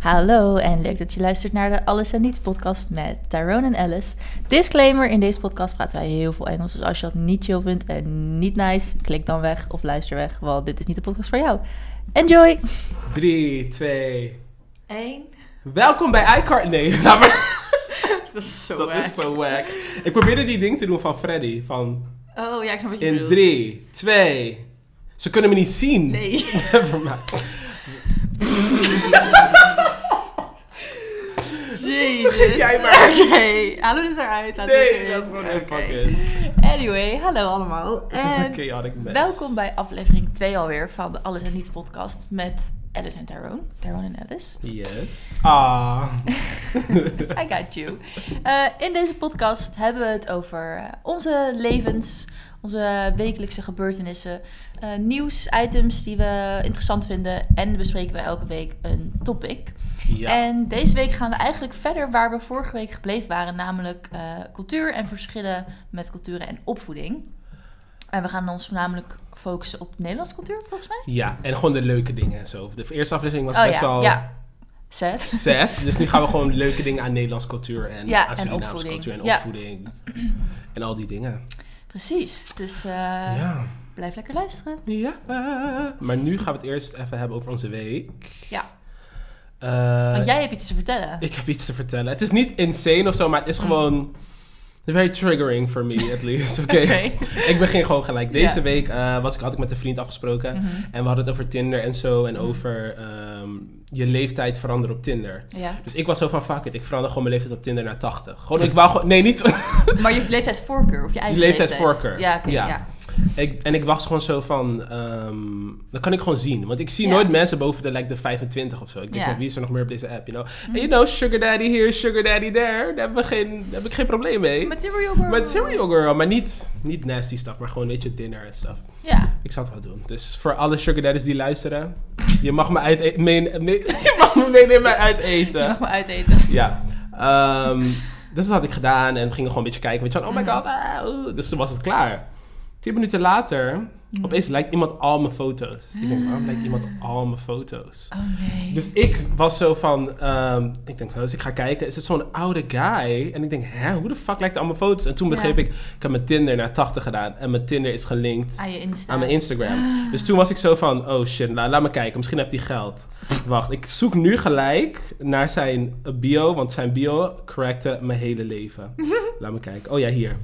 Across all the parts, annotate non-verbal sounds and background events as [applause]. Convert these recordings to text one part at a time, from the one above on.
Hallo en leuk dat je luistert naar de Alles en Niets podcast met Tyrone en Alice. Disclaimer, in deze podcast praten wij heel veel Engels. Dus als je dat niet chill vindt en niet nice, klik dan weg of luister weg. Want dit is niet de podcast voor jou. Enjoy! 3, 2. Eén. Welkom bij iCard. Nee, [laughs] laat maar. Dat is zo dat wack. is [laughs] zo wack. Ik probeerde die ding te doen van Freddy. Van Oh ja, ik snap wat je in bedoelt. 3, 2. Ze kunnen me niet zien. [laughs] Nee. Nevermind. Jezus. Jij maar. Oké, halen we dit eruit. Laten we het Nee, erin. dat is gewoon Oké. een fucking. Anyway, hallo allemaal. Het is En een chaotic mess. Welkom bij aflevering 2 alweer van de Alles en Niets podcast met Alice en Tyrone. Tyrone en Alice. Yes. Ah. [laughs] I got you. Eh, in deze podcast hebben we het over eh, onze levens, onze wekelijkse gebeurtenissen, eh nieuwsitems die we interessant vinden en bespreken we elke week een topic. Ja. En deze week gaan we eigenlijk verder waar we vorige week gebleven waren, namelijk eh, cultuur en verschillen met culturen en opvoeding. En we gaan ons voornamelijk focussen op Nederlandse cultuur, volgens mij. Ja, en gewoon de leuke dingen en zo. De eerste aflevering was oh best ja, wel ja. Set. sad. Dus nu gaan we gewoon leuke dingen aan Nederlands cultuur en Ja, aan en Surinaamse opvoeding. cultuur en Ja. opvoeding. En al die dingen. Precies. Dus eh, ja. blijf lekker luisteren. Ja. Maar nu gaan we het eerst even hebben over onze week. Ja. Eh, Want jij hebt iets te vertellen. Ik heb iets te vertellen. Het is niet insane of zo, maar het Mm. is gewoon very triggering for me, at least. Oké. [laughs] Ik begin gewoon gelijk. Deze Ja. Mm. week eh, was ik, had ik met een vriend afgesproken. Mhm. En we hadden het over Tinder en zo. En over ehm, je leeftijd veranderen op Tinder. Ja. Dus ik was zo van, fuck it, ik verander gewoon mijn leeftijd op Tinder naar 80. Gewoon, ik wou gewoon... Nee, niet... Maar je leeftijdsvoorkeur of je eigen leeftijdsvoorkeur. leeftijd. Ja, oké. Ja. ja. ik, en ik wacht gewoon zo van... ehm, dat kan ik gewoon zien. Want ik zie Ja. nooit mensen boven de, like, de 25 of zo. Ik Ja. denk Mhm. van, wie is er nog meer op deze app, you know? And you know, sugar daddy here, sugar daddy there. Daar heb, ik geen- daar heb ik geen probleem mee. Material girl. Material girl, maar niet, niet nasty stuff, maar gewoon, weet je, dinner en stuff. Ja. Ik zal het wel doen. Dus voor alle sugar daddies die luisteren, je mag me uit e- meen- [laughs] mee- je mag me meenemen uit Je eten. mag me uiteten. Ja. Ehm, dus dat had ik gedaan en we gingen gewoon een beetje kijken. Weet je, van, oh my Mhm. god. ah, oeh. dus toen was het klaar. Tien minuten later, Mm. opeens lijkt iemand al mijn foto's. Ik denk, waarom lijkt iemand al mijn foto's? Oh Ah. nee. Dus ik was zo van, ehm, ik denk, dus ik ga kijken, is het zo'n oude guy? En ik denk, hè, hoe de fuck lijkt het allemaal foto's? En toen begreep Ja. ik, ik heb mijn Tinder naar 80 gedaan en mijn Tinder is gelinkt aan je Insta. aan mijn Instagram. Dus toen was ik zo van, oh shit, la- laat me kijken, misschien heeft hij geld. Wacht, ik zoek nu gelijk naar zijn bio, want zijn bio correcte mijn hele leven. laat me kijken. Oh ja, hier.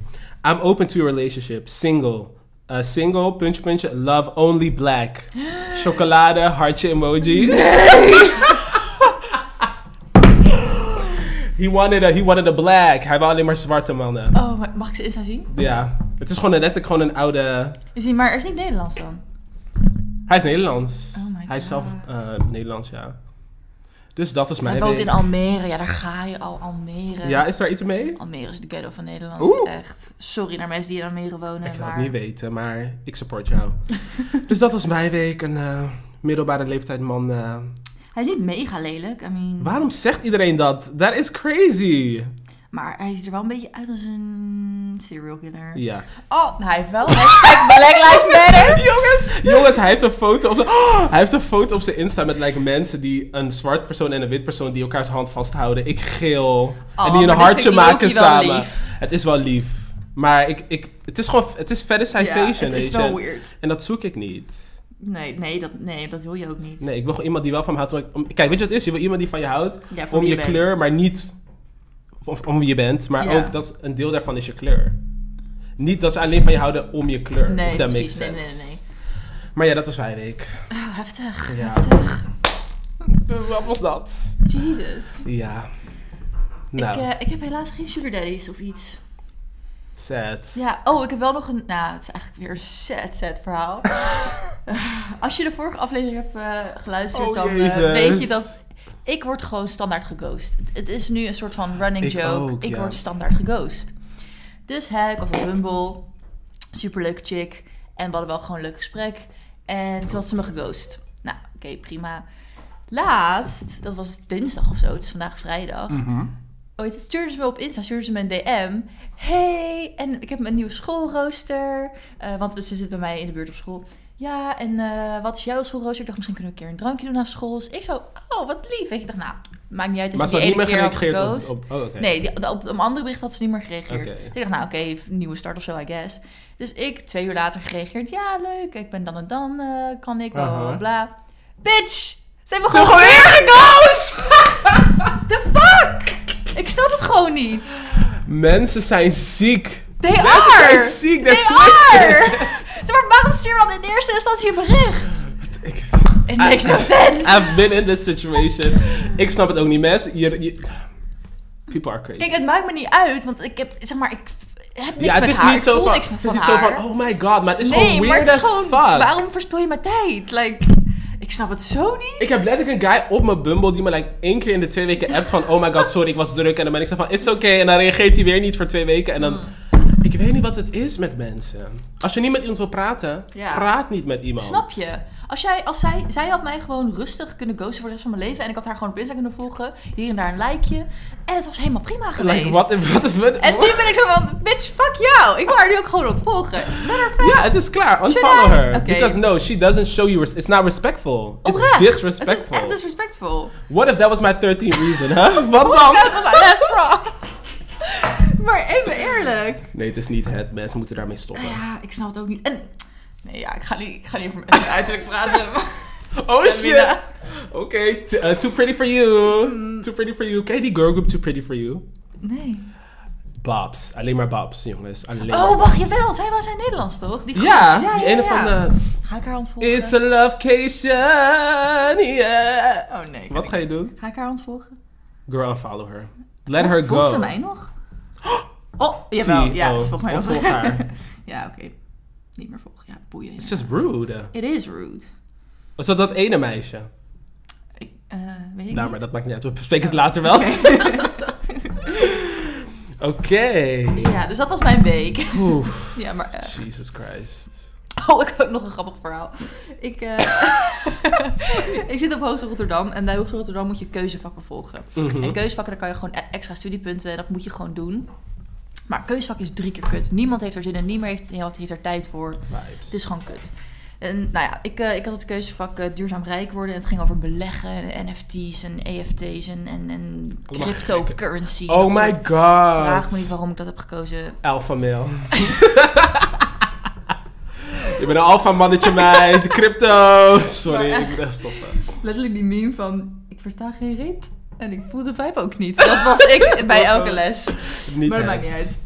I'm open to a relationship, single. Uh, single, puntje, puntje, love only black. Chocolade, hartje emoji. [laughs] he, wanted a, he wanted a black. Hij wou alleen maar zwarte mannen. Oh, maar mag ik zijn Insta zien? Ja, het is gewoon een- letterlijk gewoon een oude... Is hij maar er is niet Nederlands dan? Hij is Nederlands. Oh my Hij is zelf God. eh, Nederlands, ja. Dus dat is Hij mijn woont week. in Almere. Ja, daar ga je al. Almere. Ja, is daar iets mee? Almere is de ghetto van Nederland. Oeh. Echt. Sorry naar mensen die in Almere wonen. ik wil maar... het niet weten, maar ik [laughs] support jou. dus dat was mijn week. Een eh, middelbare leeftijd man. eh. Mm. Hij is niet mega lelijk. I mean... Waarom zegt iedereen dat? Dat is crazy. Maar hij ziet er wel een beetje uit als een serial killer. Ja. Oh, hij heeft wel. Hashtag Black Lives Matter. [laughs] [laughs] Jongens, jongens, hij heeft een foto op zijn... Oh, hij heeft een foto op zijn Insta met like, mensen die... Een zwart persoon en een wit persoon die elkaars hand vasthouden. Ik geel. Oh, en die een maar dat hartje vind ik maken low-key wel samen. lief. Het is wel lief. Maar ik, ik, het is gewoon... Het is fetishization. Ja, het is weet je. wel weird. En dat zoek ik niet. Nee, nee, dat, nee, dat wil je ook niet. Nee, ik wil gewoon iemand die wel van me houdt. om- om- kijk, weet je wat het is? Je wil iemand die van je houdt Ja, voor om wie je bent. kleur, maar niet om, om wie je bent. Maar Ja. ook dat is, een deel daarvan is je kleur. Niet dat ze alleen van je houden om je kleur. Nee, if that precies. makes Nee, sense. nee, nee, nee. Maar ja, dat was mijn week. Oh, heftig. Ja. Heftig. Dus dat was dat. Jesus. Ja. Nou, Ik, eh, ik heb helaas geen sugar daddies of iets. sad. Ja, oh, ik heb wel nog een... Nou, het is eigenlijk weer een sad, sad [laughs] verhaal. Als je de vorige aflevering hebt eh, geluisterd, Oh, dan eh, Jezus. weet je dat... Ik word gewoon standaard geghost. Het- Het is nu een soort van running Ik joke. ook, ik ja. word standaard geghost. Dus hè, ik was op Bumble. Superleuke chick. En we hadden wel gewoon een leuk gesprek. En toen had ze me geghost. Nou, oké, prima. Laatst, dat was dinsdag of zo. Het is vandaag vrijdag. Mhm. Dus Ooit stuurde ze me op Insta, stuurde ze me een DM. Hey, en ik heb mijn nieuwe schoolrooster. eh, want ze zit bij mij in de buurt op school. ja, en eh, wat is jouw schoolrooster? Ik dacht, misschien kunnen we een keer een drankje doen na school. Dus ik zo, oh, wat lief. Weet je, ik dacht, nou, maakt niet uit dat Maar je ze die ene had niet meer keer had gereageerd geghost. op... op oh, oké. Nee, die- op een andere bericht had ze niet meer gereageerd. Oké. Dus ik dacht, nou oké, een nieuwe start of zo, I guess. Dus ik, twee uur later gereageerd. Ja, leuk, ik ben dan en dan, eh, kan ik, bla, bla, bla, Aha. bla. Bitch! Ze hebben gewoon weer geghost! [laughs] The fuck? Ik snap het gewoon niet. Mensen zijn ziek. They Mensen zijn are! ziek. They They're are! twisted. [laughs] Zeg maar waarom stuur je dan in eerste instantie een bericht? Ik- It Ah, makes [laughs] no sense. I've been in this situation. Ik snap het ook niet, mensen. Je, je- people are crazy. Kijk, het maakt me niet uit, want ik heb, zeg maar, ik heb niks ja, het met is haar. niet ik zo voel van, niks het van is niet haar. zo van, oh my god, maar het is nee, gewoon maar weird het is as gewoon, fuck. waarom verspil je mijn tijd? Like, ik snap het zo niet. Ik heb letterlijk een guy op mijn Bumble die me like één keer in de twee weken appt van, oh my god, sorry, ik was druk. En dan ben ik zo van, it's okay. En dan reageert hij weer niet voor twee weken. En dan, Hmm. ik weet niet wat het is met mensen. Als je niet met iemand wil praten, Ja. praat niet met iemand. Snap je? Als, jij, als zij, zij had mij gewoon rustig kunnen ghosten voor de rest van mijn leven en ik had haar gewoon op Insta kunnen volgen, hier en daar een likeje en het was helemaal prima geweest. Like, wat, wat, wat, En nu ben ik zo van, bitch, fuck jou. Ik wil haar nu ook gewoon ontvolgen. Matter of fact, Ja, het is klaar. Should Unfollow I? her. Oké. Because no, she doesn't show you... Res- it's not respectful. It's oprecht. Het disrespectful. is echt Oh disrespectful. What if that was my 13th reason, [laughs] huh? Wat dan? Dat was haar last rock. [laughs] Maar even eerlijk. Nou Nee, het is niet het. Mensen moeten daarmee stoppen. Ja, ik snap het ook niet. En, nee, ja, ik ga niet, ik ga niet over mijn uiterlijk praten. [laughs] Oh shit! Mina. Oké, t- eh, Too Pretty For You. Mm. Too Pretty For You. Ken je die girl group Too Pretty For You? Nee. Babs. Alleen maar Babs, jongens. Alleen maar Oh, wacht, babs. jawel. Zij was in Nederlands, toch? Die Ja, groep. die ene ja. van de... Ga ik haar ontvolgen? It's a lovecation, yeah. Oh nee. ik Wat weet ga je doen? niet. Ga ik haar ontvolgen? Girl, unfollow her. Let her go. Volgt ze mij [gasps] nog? Oh, jawel. T, Ja, oh, ze volgt mij nog. ontvolg haar. [laughs] ja, oké. Niet meer volgen. Ja, boeien. It's just rude. It is rude. Was dat dat ene meisje? Ik, eh, weet ik Nou, maar niet. dat maakt niet uit. We bespreken het later wel. Oké. [laughs] Ja, dus dat was mijn week. Oef, Ja, maar... eh, Jesus Christ. Oh, [laughs] ik heb ook nog een grappig verhaal. Ik, [laughs] eh, [laughs] ik zit op Hogeschool Rotterdam en bij Hogeschool Rotterdam moet je keuzevakken volgen. Mhm. En keuzevakken, daar kan je gewoon e- extra studiepunten, dat moet je gewoon doen. Maar keuzevak is drie keer kut. Niemand heeft er zin in, niemand heeft, niemand heeft er tijd voor. Vibes. Het is gewoon kut. En nou ja, ik, eh, ik had het keuzevak eh, duurzaam rijk worden. En het ging over beleggen en NFT's en EFT's en, en, en Allemaal cryptocurrency. Dat oh soort- my god. Vraag me niet waarom ik dat heb gekozen. Alpha male. [laughs] Je bent een alpha mannetje meid. Crypto. Maar Sorry, echt. ik moet echt stoppen. letterlijk die meme van ik versta geen reet en ik voel de vibe ook niet. Dat was [laughs] ik bij was elke wel- les. Niet maar dat het. maakt niet uit.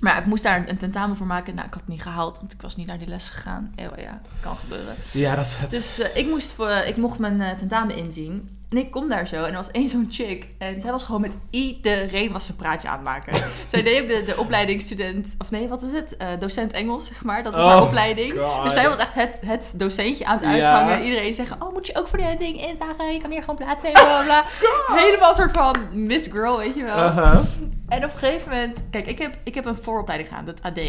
Maar ja, ik moest daar een tentamen voor maken. Nou, ik had het niet gehaald, want ik was niet naar die les gegaan. Eeuw, ja, kan gebeuren. Ja, dat is het. Dus eh, ik, moest voor, ik mocht mijn eh, tentamen inzien. En ik kom daar zo en er was één [laughs] zo'n chick. En zij was gewoon met iedereen was ze een praatje aan het maken. [laughs] zij deed ook de, de opleiding student, of nee, wat is het? Eh, docent Engels, zeg maar. Dat was haar Oh, opleiding. God. Dus zij was echt het, het docentje aan het Ja. uithangen. Iedereen zeggen, oh moet je ook voor dit ding inzagen? Je kan hier gewoon plaatsnemen, bla bla. [laughs] bla." Helemaal een soort van Miss Girl, weet je wel. Aha. En op een gegeven moment, kijk, ik heb, ik heb een vooropleiding gedaan, dat AD.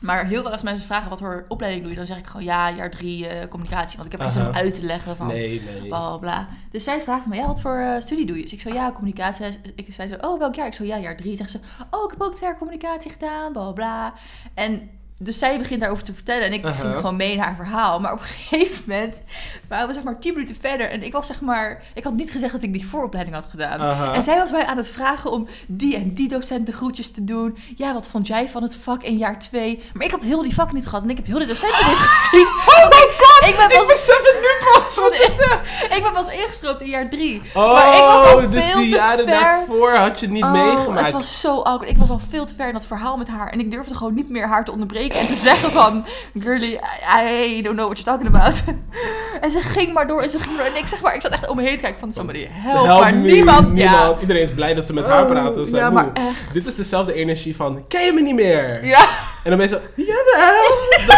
Maar heel veel als mensen vragen wat voor opleiding doe je, dan zeg ik gewoon ja, jaar drie eh, communicatie. Want ik heb geen zin om Aha. uit te leggen van Nee, nee. bla bla bla. Dus zij vraagt me, ja, wat voor eh, studie doe je? Dus ik zo, ja, communicatie. Ik zei zo, oh, welk jaar? Ik zo, ja, jaar drie. Zegt ze, oh, ik heb ook twee jaar communicatie gedaan, bla bla, bla. En dus zij begint daarover te vertellen en ik Aha. ging gewoon mee in haar verhaal. Maar op een [laughs] gegeven moment waren we zeg maar tien minuten verder en ik was zeg maar, ik had niet gezegd dat ik die vooropleiding had gedaan. Aha. En zij was mij aan het vragen om die en die docenten groetjes te doen. Ja, wat vond jij van het vak in jaar twee? Maar ik heb heel die vak niet gehad en ik heb heel de docenten niet Ah, [laughs] gezien. Oh my god, ik ben Ik pas besef het nu pas. Wat is het? ik ben pas ingestroopt in jaar drie. Oh, maar ik was al dus veel die te jaren ver. daarvoor had je het niet Oh, meegemaakt. Het was zo awkward. Ik was al veel te ver in dat verhaal met haar. En ik durfde gewoon niet meer haar te onderbreken. En te zeggen van... Girlie, I, I don't know what you're talking about. [laughs] en ze ging maar door. En ze ging maar door. En ik zeg maar... Ik zat echt om me heen te kijken van... Somebody help. maar me, niemand. Ja. niemand. Iedereen is blij dat ze met haar praten. Ze zijn ja, maar moe. Dit is dezelfde energie van, ken je me niet meer? [laughs] Ja. En dan ben je zo, jawel.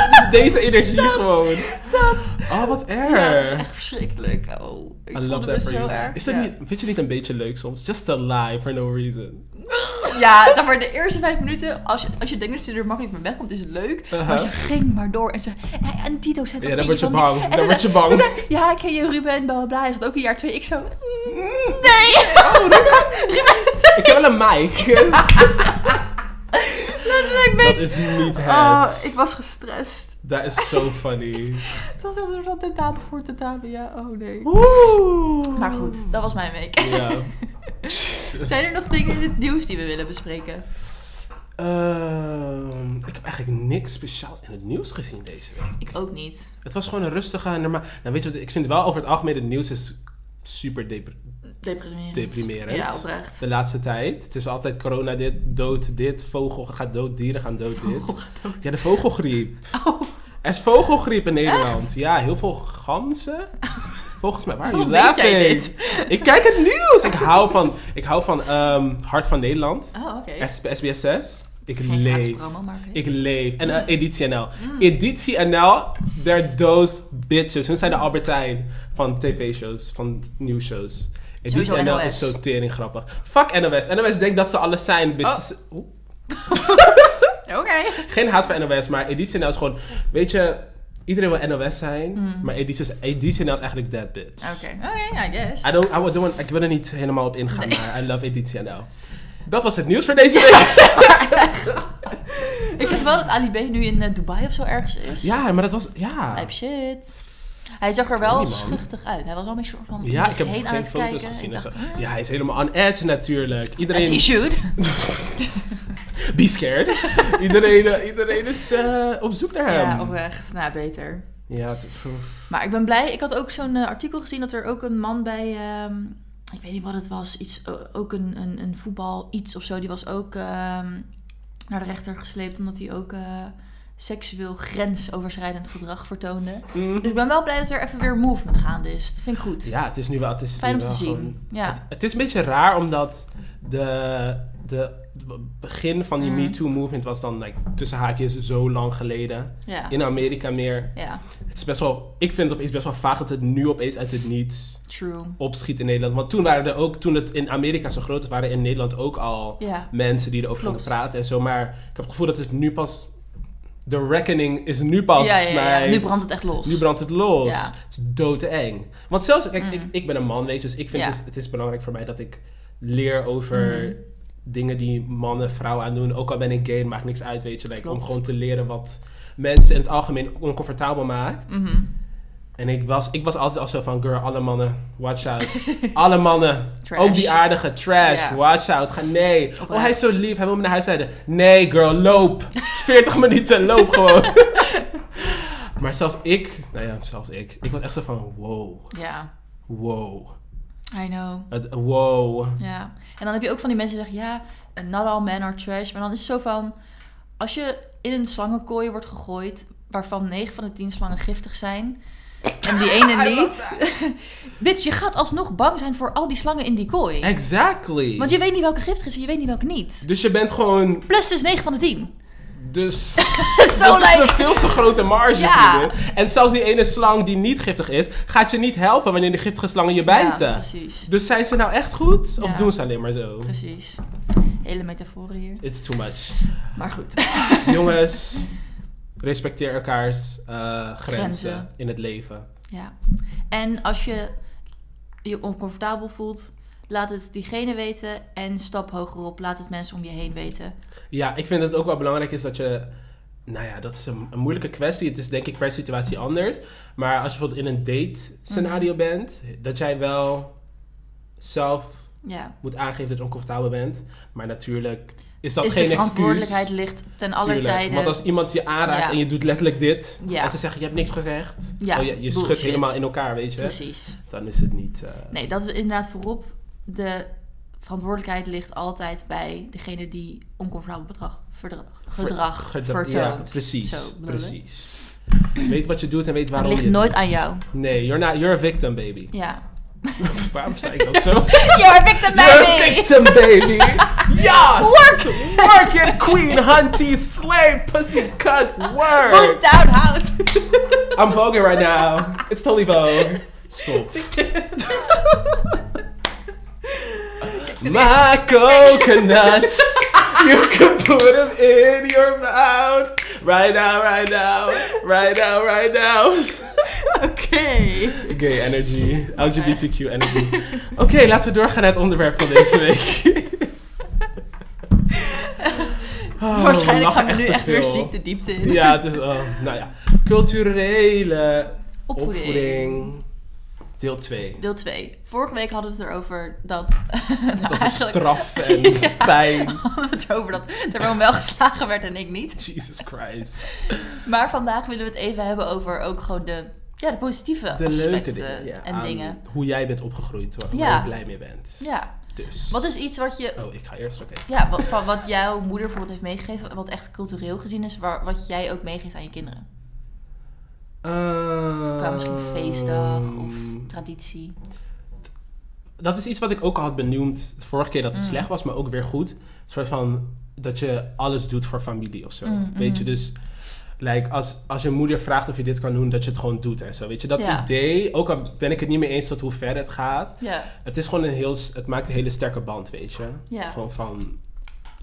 dat is deze energie gewoon. Dat. Oh, wat erg. Ja, het was echt verschrikkelijk. Oh, ik I love voelde that me for zo you. erg. Is dat ja. niet, vind je niet een beetje leuk soms? Just a lie for no reason. Ja, zeg maar, de eerste vijf minuten, als je, als je denkt dat je er makkelijk mee wegkomt, is het leuk. Uh-huh. Maar ze ging maar door en ze... En, en die docent Ja, had dan iets word je van die- bang. en Dan ze word je zei- bang. Ze zei, ja, ik ken je Ruben, bla bla bla. Is dat ook in jaar twee? Ik zo, "Mm, nee. [laughs] Ruben. Oh, Ik heb [laughs] wel een mic. [laughs] Letterlijk, dat bitch. is niet het. Oh, ik was gestrest. That is so funny. Het was echt een soort van tentamen voor tentamen. Ja, oh nee. Oeh. Maar Nou goed, dat was mijn week. [laughs] Ja. Dus- Zijn er nog dingen in het nieuws die we willen bespreken? Ehm, ik heb eigenlijk niks speciaals in het nieuws gezien deze week. Ik ook niet. Het was gewoon een rustige, normaal... Nou, weet je wat, ik vind wel over het algemeen het nieuws is super depre- Deprimerend. Deprimerend. Ja, oprecht. de laatste tijd. Het is altijd corona dit, dood dit, vogel gaat dood, dieren gaan dood dit. [laughs] Ja, de vogelgriep. Oh. Er is vogelgriep in Nederland. Ja, heel veel ganzen. Volgens mij, waar are you Hoe weet jij laughing? Ik kijk het nieuws. Ik hou van, ik hou van ehm, Hart van Nederland. Oh, oké. S- SBS 6. Ik Geen gratis leef. promo, maar oké. Ik leef. En eh, Editie NL. Editie NL, they're those bitches. Hun zijn de Albertijn van tv-shows, van nieuwsshows. Sowieso Editie NL NOS. is zo tering grappig. Fuck NOS. NOS denkt dat ze alles zijn, bitches. Oeh. Oké. Geen haat voor NOS, maar Editie NL is gewoon... Weet je, iedereen wil NOS zijn, maar Editie, is- Editie NL is eigenlijk that bitch. Oké. Oké, I guess. I don't, I would- don't want- ik wil er niet helemaal op ingaan, maar I love Editie NL. Dat was het nieuws voor deze week. Ik zeg wel dat Ali B nu in eh, Dubai of zo ergens is. Ja, maar dat was... Ja. Lijp shit. Hij zag er weet wel niet, man. schuchtig uit. Hij was wel een beetje soort van om Ja, zich ik heb heen aan geen het foto's kijken. gezien. Ik en dacht, zo. Ja, hij is helemaal on edge natuurlijk. as he Iedereen, should. [laughs] be [laughs] scared. iedereen, eh, iedereen is eh, op zoek naar hem. Ja, oprecht. Nou, beter. Ja, het- pff. Maar ik ben blij. Ik had ook zo'n eh, artikel gezien dat er ook een man bij... ehm, ik weet niet wat het was. Iets, o- ook een, een, een voetbal iets of zo. Die was ook ehm, naar de rechter gesleept omdat hij ook... eh, seksueel grensoverschrijdend gedrag vertoonde. Mm. Dus ik ben wel blij dat er even weer movement gaande is. Dat vind ik goed. ja, het is nu wel... Het is Fijn om nu te wel gewoon- zien. Ja. Het is een beetje raar, omdat de, de, de begin van die Mm. MeToo-movement was dan like, tussen haakjes zo lang geleden. Ja. In Amerika meer. Ja, Het is best wel... Ik vind het opeens best wel vaag dat het nu opeens uit het niets true. opschiet in Nederland. Want toen waren er ook... Toen het in Amerika zo groot was, waren in Nederland ook al... Ja. mensen die erover Klopt. gingen praten en zo. Maar ik heb het gevoel dat het nu pas... De reckoning is nu pas, ja, ja, ja. meid. Nu brandt het echt los. Nu brandt het los. Ja. Het is doodeng. Want zelfs, kijk, Mm. ik, ik ben een man, weet je. Dus ik vind Ja. het, het is belangrijk voor mij dat ik leer over... Mhm. Dingen die mannen, vrouwen aan doen. Ook al ben ik gay, maakt niks uit, weet je. Like, om Klopt. gewoon te leren wat mensen in het algemeen oncomfortabel maakt. Mhm. En ik was, ik was altijd al zo van, girl, alle mannen, [laughs] watch out. alle mannen, Trash. ook die aardige, trash, Ja. watch out. Ga, nee. Oprecht. Oh, hij is zo lief, hij wil me naar huis rijden. Nee, girl, loop. Het is 40 minuten, [laughs] loop gewoon. maar zelfs ik, nou ja, zelfs ik. Ik was echt zo van, wow, Ja, wow. I know. Het, wow. Ja. En dan heb je ook van die mensen die zeggen, ja, eh, not all men are trash. Maar dan is het zo van, als je in een slangenkooi wordt gegooid, waarvan 9 van de 10 slangen giftig zijn, en die ene niet. [laughs] Bitch, je gaat alsnog bang zijn voor al die slangen in die kooi. Exactly. Want je weet niet welke giftig is en je weet niet welke niet. Dus je bent gewoon, Plus het is 9 van de 10. dus... [laughs] Zo [laughs] dat is lijkt een veel te grote marge, Ja. vriendin. En zelfs die ene slang die niet giftig is, gaat je niet helpen wanneer die giftige slangen je bijten. Ja, precies. Dus zijn ze nou echt goed? Of Ja. doen ze alleen maar zo? Precies. Hele metaforen hier. It's too [laughs] much. Maar goed. Jongens, respecteer elkaars eh, grenzen, Grenzen. in het leven. Ja. En als je je oncomfortabel voelt, laat het diegene weten en stap hogerop. Laat het mensen om je heen weten. Ja, ik vind dat het ook wel belangrijk is dat je... Nou ja, dat is een, een moeilijke kwestie. Het is denk ik per situatie anders. Maar als je bijvoorbeeld in een date Mhm. scenario bent, dat jij wel zelf Ja. moet aangeven dat je oncomfortabel bent. Maar natuurlijk is dat Dus de geen verantwoordelijkheid excuus. ligt ten aller Tuurlijk, tijden. Want als iemand je aanraakt Ja. en je doet letterlijk dit. Ja. En ze zeggen, je hebt niks gezegd. Ja, oh, je je schudt bullshit. helemaal in elkaar, weet je. Precies. Dan is het niet... eh, Nee, dat is inderdaad voorop. De verantwoordelijkheid ligt altijd bij degene die oncomfortabel bedrag, verdrag, ver- gedrag gedra- vertoont. Ja, precies. Zo bedoel ik. precies. weet wat je doet en weet Het waarom ligt je het nooit doet. aan jou. Nee, you're, not, you're a victim, baby. [laughs] Ja. Waarom zei ik [laughs] dat zo? You're a victim, You're a baby! victim, baby! [laughs] Yes! Work! Work, your queen, hunty, slave, pussy, cunt, work! Move down, house! [laughs] [laughs] I'm voguing right now. It's totally vogue. Stop. My coconuts, you can put them in your mouth. Right now, right now, right now, right now. Oké. Gay energy, LGBTQ energy. Oké, laten we doorgaan naar het onderwerp van deze week. [laughs] Oh, we Waarschijnlijk lachen gaan we nu te echt weer veel. ziek de diepte in. Ja, het is. oh, nou ja. Culturele opvoeding. [laughs] Opvoeding. Deel 2. Deel 2. Vorige week hadden we het erover dat... [laughs] nou, Dat [laughs] is eigenlijk straf en Ja. pijn. hadden we het erover dat Terwijl wel geslagen werd en ik niet. Jesus Christ. Maar vandaag willen we het even hebben over ook gewoon de, ja, de positieve De aspecten leuke dingen. ja, en aan dingen. Hoe jij bent opgegroeid, waar, waar Ja. je blij mee bent. Ja. Dus. Wat is iets wat je... Oh, ik ga eerst, oké. Ja, wat, van wat jouw moeder bijvoorbeeld heeft meegegeven, wat echt cultureel gezien is, waar, wat jij ook meegeeft aan je kinderen. Ehm, Qua misschien feestdag of traditie. Dat is iets wat ik ook al had benoemd de vorige keer dat het Mm. slecht was, maar ook weer goed. Een soort van dat je alles doet voor familie of zo. Mm, Weet je, mm. dus like, als, als je moeder vraagt of je dit kan doen, dat je het gewoon doet en zo. Weet je, dat Ja. idee, ook al ben ik het niet mee eens tot hoe ver het gaat, Ja, het is gewoon een heel, s- het maakt een hele sterke band, weet je. Ja. Gewoon van,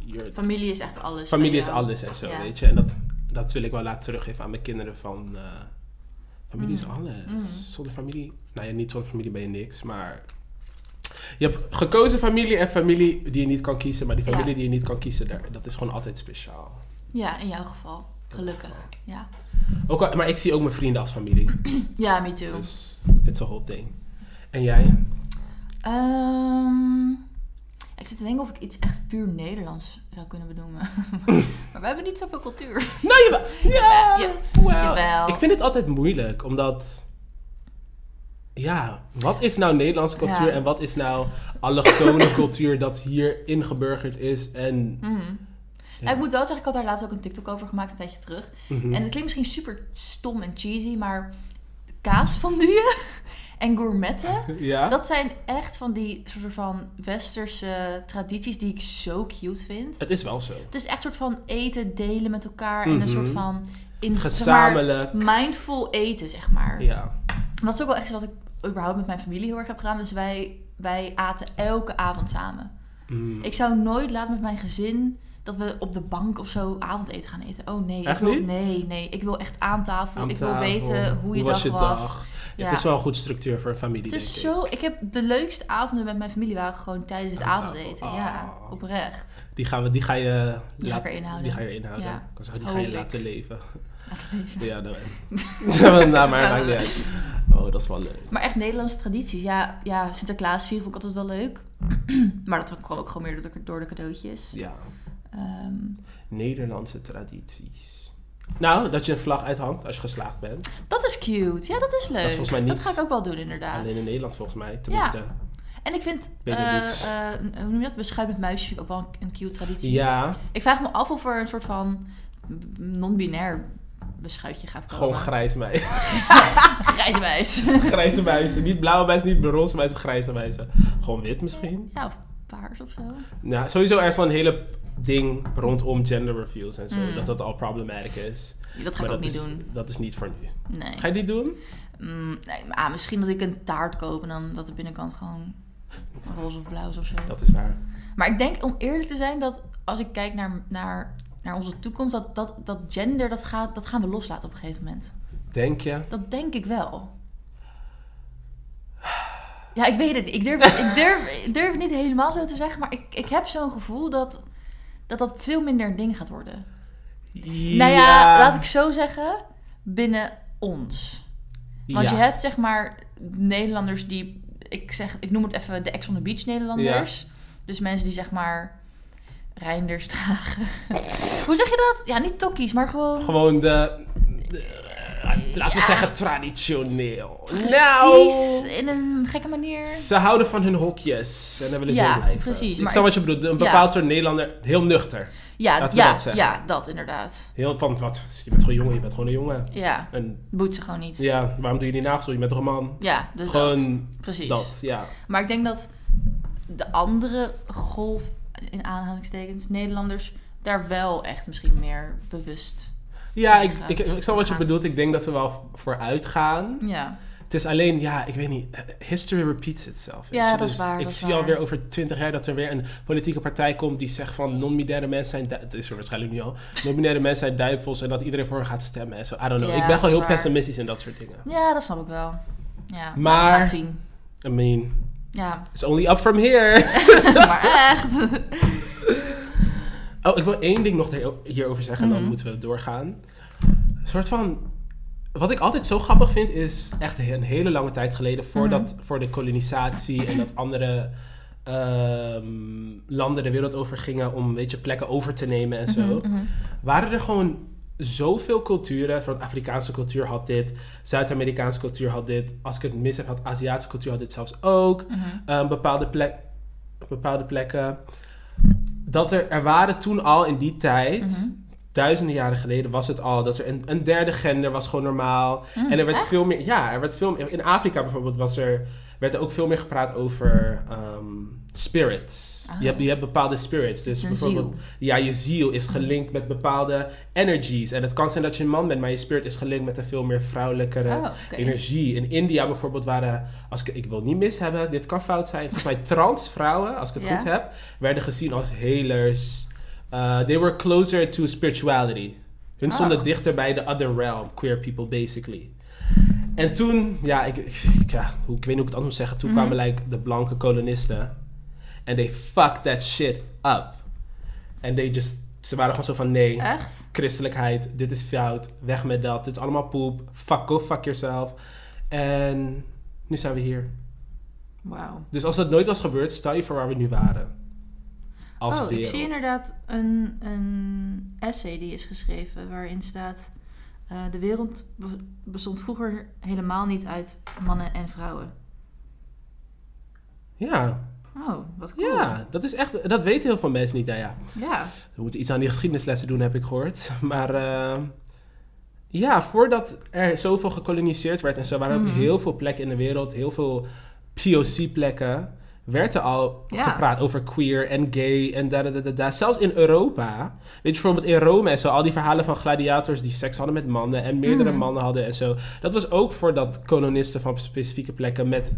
je familie is echt alles. familie bij is jou. alles en zo, Ja. weet je. En dat, dat wil ik wel laten teruggeven aan mijn kinderen van, eh, familie Mm. is alles. Mm. Zonder familie, nou ja, niet zonder familie ben je niks, maar... Je hebt gekozen familie en familie die je niet kan kiezen, maar die Ja. familie die je niet kan kiezen, daar, dat is gewoon altijd speciaal. Ja, in jouw geval. Gelukkig. Ja, Ook al- maar ik zie ook mijn vrienden als familie, ja me too. dus it's a whole thing. En jij? Ehm, ik zit te denken of ik iets echt puur Nederlands zou kunnen benoemen. [laughs] [laughs] maar we hebben niet zoveel cultuur. Nou, jawel. Ja, Jawel, Wel, jawel. Nou, Ik vind het altijd moeilijk, omdat... Ja, wat is nou Nederlandse cultuur Ja. en wat is nou allochtone [laughs] cultuur dat hier ingeburgerd is en... Mm. Ja. Ik moet wel zeggen, ik had daar laatst ook een TikTok over gemaakt een tijdje terug. Mhm. En het klinkt misschien super stom en cheesy, maar kaasfondue [laughs] en gourmetten, ja? dat zijn echt van die soort van westerse tradities die ik zo cute vind. Het is wel zo. Het is echt soort van eten delen met elkaar en Mhm. een soort van in, zeg maar, Gezamenlijk. mindful eten, zeg maar. Ja. Dat is ook wel echt iets wat ik überhaupt met mijn familie heel erg heb gedaan. Dus wij, wij aten elke avond samen. Mm. Ik zou nooit laten met mijn gezin dat we op de bank of zo avondeten gaan eten. Oh nee, Echt ik wil, niet? nee, nee. Ik wil echt aan tafel. Aan ik tafel. wil weten hoe je dag was. Je was. dag? Ja, Ja. Het is wel een goed structuur voor een familie, Het is denk ik. zo. Ik heb de leukste avonden met mijn familie waren gewoon tijdens het Aan tafel. avondeten. Ah. Ja, oprecht. Die, gaan we, die ga je... Die ga ik laten- erin houden. Die ga je erin houden. Ja. Ik wou zeggen, die Hoop ga je ik. laten [laughs] leven. Laat leven. Ja, dat... [laughs] nou, maar maakt niet uit. [laughs] Oh, dat is wel leuk. Maar echt Nederlandse tradities. Ja, ja Sinterklaas vieren vond ik altijd wel leuk. Mm. [clears throat] maar dat kwam ook gewoon meer door de, door de cadeautjes. Ja. Ehm, Nederlandse tradities. Nou, dat je een vlag uithangt als je geslaagd bent. dat is cute. Ja, dat is leuk. volgens mij niet- dat ga ik ook wel doen, inderdaad. Alleen in Nederland volgens mij, tenminste. En ik vind, Benelux. eh, eh, hoe noem je dat? Beschuit met muisjes vind ik ook wel een, een cute traditie. Ja, Ik vraag me af of er een soort van non-binair beschuitje gaat komen. gewoon [laughs] grijs mij. grijze muis. [laughs] grijze muizen. Niet blauwe muizen, niet roze muizen, grijze muizen. Gewoon wit misschien. [laughs] ja, of paars of zo. Nou, sowieso er is wel een hele ding rondom gender reveals en zo. Mm. Dat dat al problematic is. Dat ga ik ook dat niet is, doen. dat is niet voor nu. Nee. Ga je die doen? Mm, nee, maar, ah, misschien dat ik een taart koop en dan dat de binnenkant gewoon roze of blauw is of zo. Dat is waar. Maar ik denk, om eerlijk te zijn, dat als ik kijk naar, naar, naar onze toekomst, dat, dat, dat gender, dat, gaat, dat gaan we loslaten op een gegeven moment. Denk je? Dat denk ik wel. Ja, ik weet het niet. Ik durf, ik durf, ik durf het niet helemaal zo te zeggen, maar ik, ik heb zo'n gevoel dat, dat dat veel minder een ding gaat worden. Nou ja, laat ik zo zeggen, binnen ons. Want Ja. je hebt zeg maar Nederlanders die, ik, zeg, ik noem het even de ex on the beach Nederlanders. Dus mensen die zeg maar reinders dragen. [laughs] Hoe zeg je dat? Ja, niet tokkies, maar gewoon... Gewoon de... de- laten we zeggen traditioneel. Nou. Precies, in een gekke manier. Ze houden van hun hokjes en daar willen ze Ja, in blijven. precies, Ik maar snap ik- wat je bedoelt. Een ja. bepaald soort Nederlander, heel nuchter. Ja, Laten we ja, dat zeggen. ja, dat inderdaad. Heel van, wat, je bent gewoon jongen, je bent gewoon een jongen. Ja, En boet ze gewoon niet. Ja, ja, waarom doe je die nagels? Je bent toch een man? dus dat. gewoon Precies. dat, ja. Maar ik denk dat de andere golf, in aanhalingstekens, Nederlanders, daar wel echt misschien meer bewust. Ja, ik, Gaat. ik, ik snap wat je Gaan. bedoelt. Ik denk dat we wel vooruit gaan. Ja, Het is alleen, ja, ik weet niet, eh, history repeats itself. weet Ja, je. dat is Dus waar, Ik dat is zie waar. alweer over twintig jaar dat er weer een politieke partij komt die zegt van non-binaire mensen zijn, du- het is er waarschijnlijk nu al, non-binaire mensen zijn duivels en dat iedereen voor hen gaat stemmen en zo. I don't know. Ja, ik ben dat gewoon is heel waar. pessimistisch in dat soort dingen. ja dat snap ik wel. Ja, Maar- we gaan het zien. I mean, Ja, [laughs] it's only up from here. maar echt. Oh, ik wil één ding nog heel- hierover zeggen en Mhm. dan moeten we doorgaan. Een soort van Wat ik altijd zo grappig vind, is echt een hele lange tijd geleden, voordat voor de kolonisatie en dat andere ehm, landen de wereld over gingen om weet je, plekken over te nemen en zo, Mhm, waren er gewoon zoveel culturen. Van Afrikaanse cultuur had dit, Zuid-Amerikaanse cultuur had dit, als ik het mis heb, had Aziatische cultuur had dit zelfs ook. mhm. Ehm, bepaalde, plek, bepaalde plekken. Dat er, er waren toen al in die tijd Mhm. duizenden jaren geleden was het al dat er een, een derde gender was gewoon normaal. Mhm, en er werd veel meer, ja, er werd veel meer, in Afrika bijvoorbeeld was er, werd er ook veel meer gepraat over ehm, spirits. Ah. Je, hebt, je hebt bepaalde spirits. Dus Een bijvoorbeeld, ja, je ziel is gelinkt met bepaalde energies. En het kan zijn dat je een man bent, maar je spirit is gelinkt met een veel meer vrouwelijkere Oh, oké. energie. In India bijvoorbeeld waren, als ik, ik wil niet mis hebben, dit kan fout zijn. Volgens mij trans vrouwen, als ik het Ja. goed heb, werden gezien als helers. Uh, they were closer to spirituality. Hun Ah. stonden dichter bij the other realm, queer people basically. En toen, ja, ik, ik- ja hoe, ik weet niet hoe ik het anders moet zeggen, Mhm. toen kwamen like, de blanke kolonisten. En they fucked that shit up. En they just, ze waren gewoon zo van nee Echt? christelijkheid, dit is fout, weg met dat, dit is allemaal poep, fuck off, fuck yourself. En nu zijn we hier. Wauw. Dus als dat nooit was gebeurd, stel je voor waar we nu waren. Als oh, wereld. ik zie inderdaad een, een essay die is geschreven waarin staat... eh, de wereld be- bestond vroeger helemaal niet uit mannen en vrouwen. Ja, Oh, wat cool. ja dat is echt, dat weten heel veel mensen niet. Nou ja, Ja. we moeten iets aan die geschiedenislessen doen, heb ik gehoord. [laughs] Maar eh, ja, voordat er zoveel gekoloniseerd werd en zo, waren er Mhm. op heel veel plekken in de wereld, heel veel POC-plekken, werd er al Ja. gepraat over queer en gay en da da da da, da. Zelfs in Europa. Weet je, bijvoorbeeld in Rome en zo, al die verhalen van gladiators die seks hadden met mannen en meerdere Mhm. mannen hadden en zo. Dat was ook voordat kolonisten van specifieke plekken met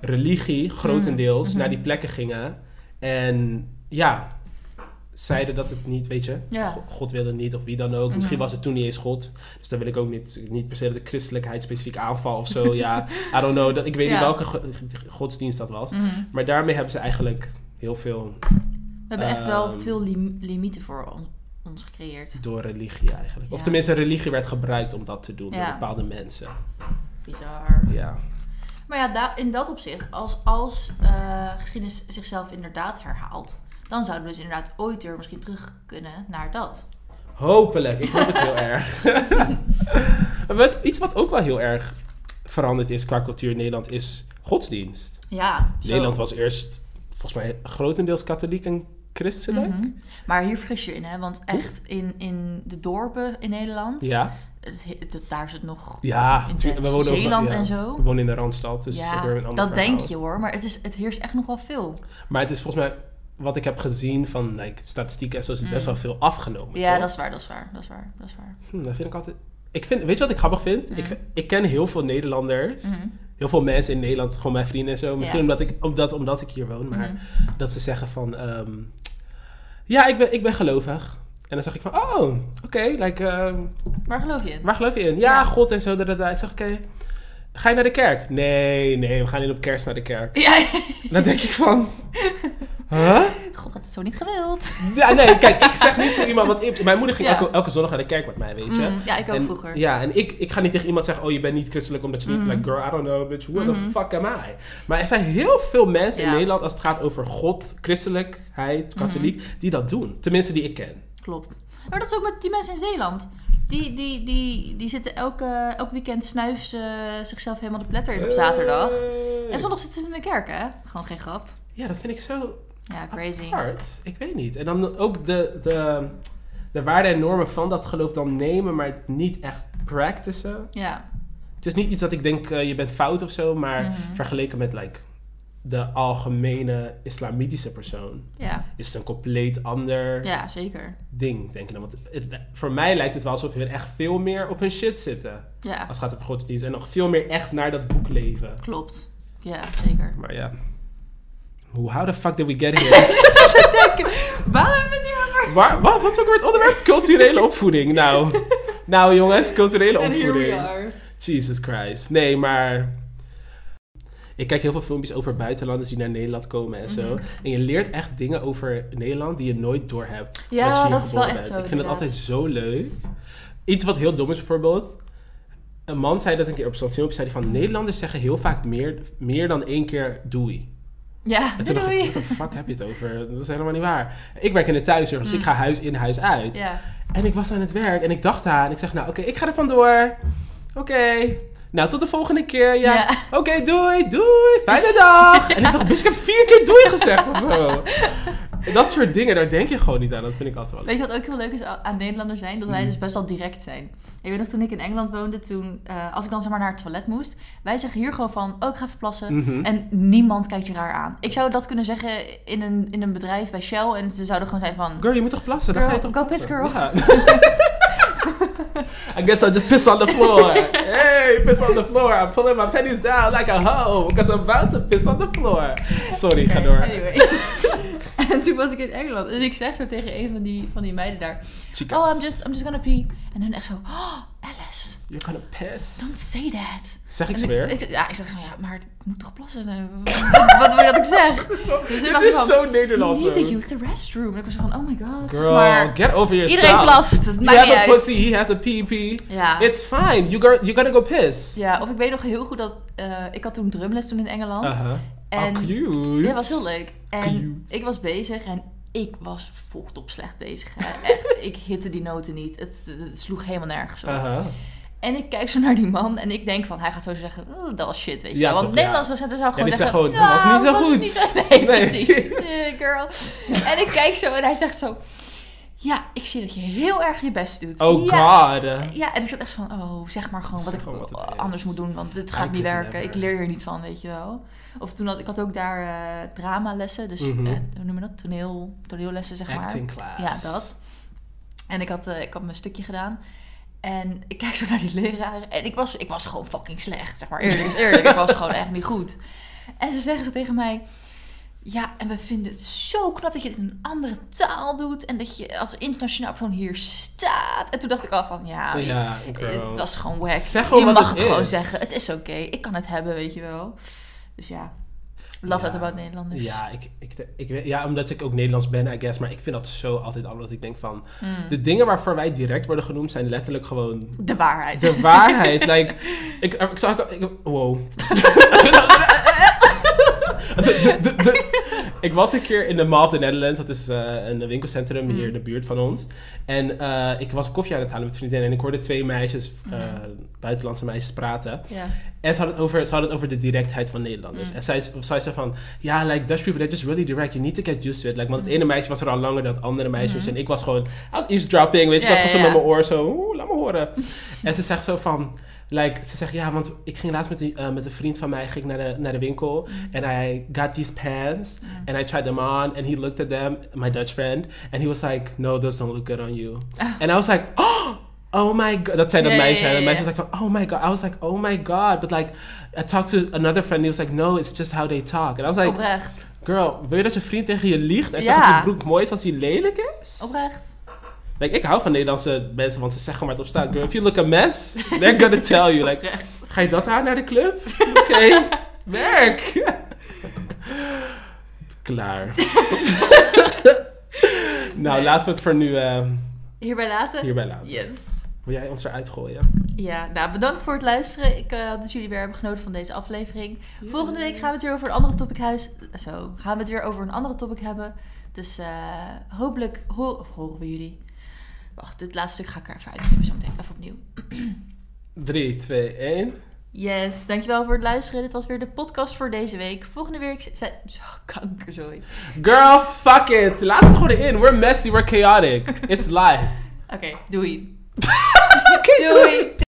religie grotendeels Mhm. naar die plekken gingen. En ja, zeiden dat het niet, weet je, Ja. Go- God wilde niet of wie dan ook. Misschien Mhm. was het toen niet eens God. Dus dan wil ik ook niet, niet per se dat de christelijkheid specifiek aanval of [laughs] zo. ja, I don't know. Dat, ik weet Ja. niet welke go- godsdienst dat was. Mhm. Maar daarmee hebben ze eigenlijk heel veel We hebben echt wel Ehm. veel lim- limieten voor on- ons gecreëerd. door religie eigenlijk. Of Ja. tenminste, religie werd gebruikt om dat te doen door Ja. bepaalde mensen. Bizar. Ja. Maar ja, da- in dat opzicht, als, als eh, geschiedenis zichzelf inderdaad herhaalt, dan zouden we dus inderdaad ooit weer misschien terug kunnen naar dat. Hopelijk, ik hoop het [laughs] heel erg. [laughs] Wat- Iets wat ook wel heel erg veranderd is qua cultuur in Nederland is godsdienst. Ja, zo. Nederland was eerst volgens mij grotendeels katholiek en christelijk. Mhm. Maar hier vergis je in, hè? Want echt in, in de dorpen in Nederland, Ja, het- het- daar is het nog. ja. In tuurlijk, Zeeland ook wel- ja, en zo. We wonen in de Randstad, dus dat is ja, ook weer een ander dat verhaal. denk je hoor, maar het, is, het heerst echt nog wel veel. Maar het is volgens mij, wat ik heb gezien van like, statistieken en zo, is het best Mm. wel veel afgenomen. Ja, toch? dat is waar, dat is waar, dat is waar, dat is waar. Hm, dat vind ik altijd... Ik vind, weet je wat ik grappig vind? Mm. Ik, ik ken heel veel Nederlanders, Mhm. heel veel mensen in Nederland, gewoon mijn vrienden en zo. Misschien Ja. omdat, ik, omdat, omdat ik hier woon, maar Mhm. dat ze zeggen van... ehm, ja, ik ben, ik ben gelovig. En dan zeg ik van, oh, oké, like, ehm, Waar geloof je in? Waar geloof je in? Ja, Ja. God en zo. Da, da, da. Ik zeg, oké, ga je naar de kerk? Nee, nee, we gaan niet op kerst naar de [laughs] kerk. [laughs] Ja, Dan denk ik van, huh? God had het zo niet gewild. Ja, nee, kijk, ik zeg niet tegen iemand, want ik- mijn moeder ging Ja. elke, elke zondag naar de kerk met mij, weet je. Mm, ja, ik ook en, vroeger. Ja, en ik, ik ga niet tegen iemand zeggen, oh, je bent niet christelijk omdat je niet... Mhm. Like, girl, I don't know, bitch, what Mhm. the fuck am I? Maar er zijn heel veel mensen Ja. in Nederland, als het gaat over God, christelijkheid, katholiek, Mm-hmm. die dat doen. Tenminste, die ik ken. Klopt. Maar dat is ook met die mensen in Zeeland. Die, die, die, die zitten elke, elk weekend snuiven ze zichzelf helemaal de pletter in op zaterdag. Eh. Hey. En zondag zitten ze in de kerk, hè? Gewoon geen grap. Ja, dat vind ik zo Ja, crazy. Apart. Ik weet niet. En dan ook de, de, de waarden en normen van dat geloof dan nemen, maar het niet echt practicen. Ja. Het is niet iets dat ik denk, eh, je bent fout of zo, maar Mhm. vergeleken met like, de algemene islamitische persoon Ja. is het een compleet ander ja, zeker. ding, denk ik dan. Want het- voor mij lijkt het wel alsof hun echt veel meer op hun shit zitten. Ja, Als het gaat over godsdienst en nog veel meer echt naar dat boek leven. klopt. Ja, [laughs] zeker. Maar ja. Hoe- How the fuck did we [laughs] get here? Waarom hebben we het hier over? Waar, wa- wat is ook weer het onderwerp? Culturele opvoeding. Nou, nou jongens, culturele And here we opvoeding. are. Jesus Christ. Nee, maar... Ik kijk heel veel filmpjes over buitenlanders die naar Nederland komen en zo. Mhm. En je leert echt dingen over Nederland die je nooit doorhebt. Ja, als je hier dat is wel geboren echt bent. zo, Ik vind dat inderdaad. altijd zo leuk. Iets wat heel dom is bijvoorbeeld. Een man zei dat een keer op zo'n filmpje. Zei hij van, Nederlanders zeggen heel vaak meer, meer dan één keer doei. [laughs] Ja, En doei toen dacht doei. ik, what the fuck heb je het over? Dat is helemaal niet waar. Ik werk in de thuiszorg, Mm. dus ik ga huis in, huis uit. [laughs] Ja. En ik was aan het werk en ik dacht aan. Ik zeg, nou oké, ik ga er vandoor. Oké. Nou, tot de volgende keer. Ja. Ja. Oké, doei, doei. Fijne [laughs] dag. En ik dacht, bitch, ik heb vier keer doei gezegd of zo. Dat soort dingen, daar denk je gewoon niet aan. Dat vind ik altijd wel leuk. Weet je wat ook heel leuk is aan aan Nederlanders zijn? Dat wij Mm. dus best wel direct zijn. Ik weet nog toen ik in Engeland woonde, toen, eh, als ik dan zeg maar naar het toilet moest, wij zeggen hier gewoon van, oh ik ga even plassen. Mhm. En niemand kijkt je raar aan. Ik zou dat kunnen zeggen in een, in een bedrijf bij Shell en ze zouden gewoon zijn van, Girl, je moet toch plassen? Dan ga je Girl, toch go piss, girl. girl. [laughs] I guess I'll just piss on the floor. Hey, piss on the floor. I'm pulling my pennies down like a hoe. Because I'm about to piss on the floor. Sorry, ga Oké, door. [laughs] anyway. en toen was ik in Engeland en ik zeg zo tegen een van die, van die meiden daar, Chicas, oh I'm just, I'm just gonna pee. En hun echt zo, oh Alice, You're gonna piss. don't say that. Zeg ik En zweer. Ik, ja, ik zeg van ja, maar het moet toch plassen? Eh, Wat, wat wil je dat ik [laughs] zeg? Dus ik Dit was is van, zo Nederlands. You need hoor. to use the restroom. En ik was zo van, oh my god. Girl, maar get over yourself. iedereen plast, het You maakt have niet a uit. pussy, he has a pee-pee. Ja. It's fine. You go, you gotta go piss. ja, of ik weet nog heel goed dat eh, ik had toen drumles toen in Engeland. Uh-huh. En- oh, cute. Ja, dat was heel leuk. En Cute. ik was bezig en ik was voltop slecht bezig. hè. [laughs] Echt, ik hitte die noten niet. Het, het- het sloeg helemaal nergens op. Uh-huh. En ik kijk zo naar die man en ik denk van, hij gaat zo zeggen, "Oh, dat was shit, weet je Ja, wel. Want toch, Nederlanders docenten zou Ja, gewoon die zeggen, zeggen gewoon, dat was "Ja, niet zo was goed." niet zo- [laughs] Nee, [laughs] Nee. precies. Eh, girl. En ik kijk zo en hij zegt zo, ja, ik zie dat je heel erg je best doet. Oh ja. god. Ja, en ik zat echt van, oh, zeg maar gewoon wat Zeg ik eh, gewoon wat het is. anders moet doen, want dit gaat I niet could werken. never. Ik leer hier niet van, weet je wel. Of toen had ik had ook daar eh, dramalessen, dus Mhm. eh, hoe noem je dat? Toneel, toneellessen, zeg maar. Acting class. Ja, dat. En ik had, eh, ik had mijn stukje gedaan. En ik [laughs] kijk zo naar die leraren. En ik was, ik was gewoon fucking slecht. Zeg maar eerlijk is eerlijk. ik was gewoon echt niet goed. En ze zeggen zo tegen mij. Ja, en we vinden het zo knap dat je het in een andere taal doet. En dat je als internationaal persoon hier staat. En toen dacht ik al van, ja, Ja, girl. het was gewoon wack. Zeg gewoon je wat mag het het, gewoon is. zeggen. Het is oké. Ik kan het hebben, weet je wel. Dus ja, love Ja. that about Nederlanders. Ja, ik, ik, ik, weet- ja, omdat ik ook Nederlands ben, I guess. Maar ik vind dat zo altijd anders. Dat ik denk van... Mm. De dingen waarvoor wij direct worden genoemd zijn letterlijk gewoon... De waarheid. De waarheid. like, ik, ik zag... Ik, wow. [laughs] De- de- de- de- ik was een keer in de Mall of the Netherlands. Dat is eh, een winkelcentrum hier in de buurt van ons. En eh, ik was koffie aan het halen met vriendinnen. En ik hoorde twee meisjes, eh, buitenlandse meisjes, praten. Ja. En ze hadden het over, ze hadden het over de directheid van Nederlanders. Mm. En zij, zij zei van, ja, like Dutch people, they're just really direct. You need to get used to it. Like, Mm. want het ene meisje was er al langer dan het andere meisje. En ik was gewoon, I was eavesdropping, weet je. Ja, ik was gewoon ja, zo met mijn oor zo, oeh, laat me horen. en ze zegt zo van, like, ze zegt, ja, want ik ging laatst met, die, eh, met een vriend van mij ging ik naar, de, naar de winkel. Mm. En I got these pants. And I tried them on. And he looked at them, my Dutch friend. And he was like, no, those don't look good on you. And I was like, oh, oh my god. Dat zei dat Ja, ja, meisje. ja, En dat ja, meisje ja. was like, oh my god. I was like, oh my god. But like, I talked to another friend. He was like, no, it's just how they talk. And I was like, Oprecht. girl, wil je dat je vriend tegen je liegt? En Ja. zegt dat je broek mooi is als hij lelijk is? Oprecht. Like, ik hou van Nederlandse mensen, want ze zeggen maar het op staat. Girl, if you look a mess, they're gonna tell you. Like, Oprecht. ga je dat aan naar de club? [laughs] Oké, werk! [laughs] [laughs] Klaar. nou, Nee. laten we het voor nu eh, Hierbij laten. hierbij laten. Yes. Wil jij ons eruit gooien? Ja, nou bedankt voor het luisteren. Ik eh, hoop dat jullie weer hebben genoten van deze aflevering. Volgende week gaan we het weer over een andere topic huis. Zo, gaan we het weer over een andere topic hebben. Dus eh, hopelijk ho- of horen we jullie. Wacht, dit laatste stuk ga ik er even uitknippen zo meteen. Even opnieuw. 3, 2, 1. Yes, dankjewel voor het luisteren. Dit was weer de podcast voor deze week. Volgende week zijn... Oh, kanker, sorry. Girl, fuck it! Laat het gewoon in. We're messy, we're chaotic. It's life. Oké, doei. Oké, Doei!